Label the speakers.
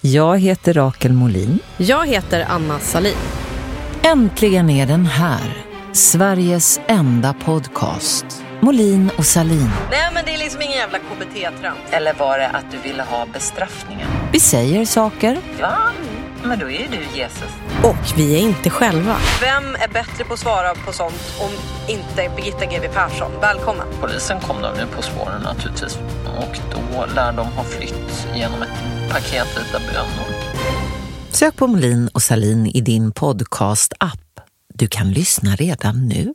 Speaker 1: Jag heter Rakel Molin.
Speaker 2: Jag heter Anna Salin.
Speaker 3: Äntligen är den här. Sveriges enda podcast. Molin och Salin.
Speaker 4: Nej, men det är liksom ingen jävla KBT-trams.
Speaker 5: Eller var det att du ville ha bestraffningen?
Speaker 3: Vi säger saker.
Speaker 5: Ja, men då är ju du Jesus.
Speaker 2: Och vi är inte själva.
Speaker 4: Vem är bättre på att svara på sånt om inte Birgitta GW Persson? Välkommen.
Speaker 5: Polisen kom dem nu på spåren naturligtvis och då lär de ha flytt genom ett paket vita bönor.
Speaker 3: Sök på Molin och Salin i din podcast-app. Du kan lyssna redan nu.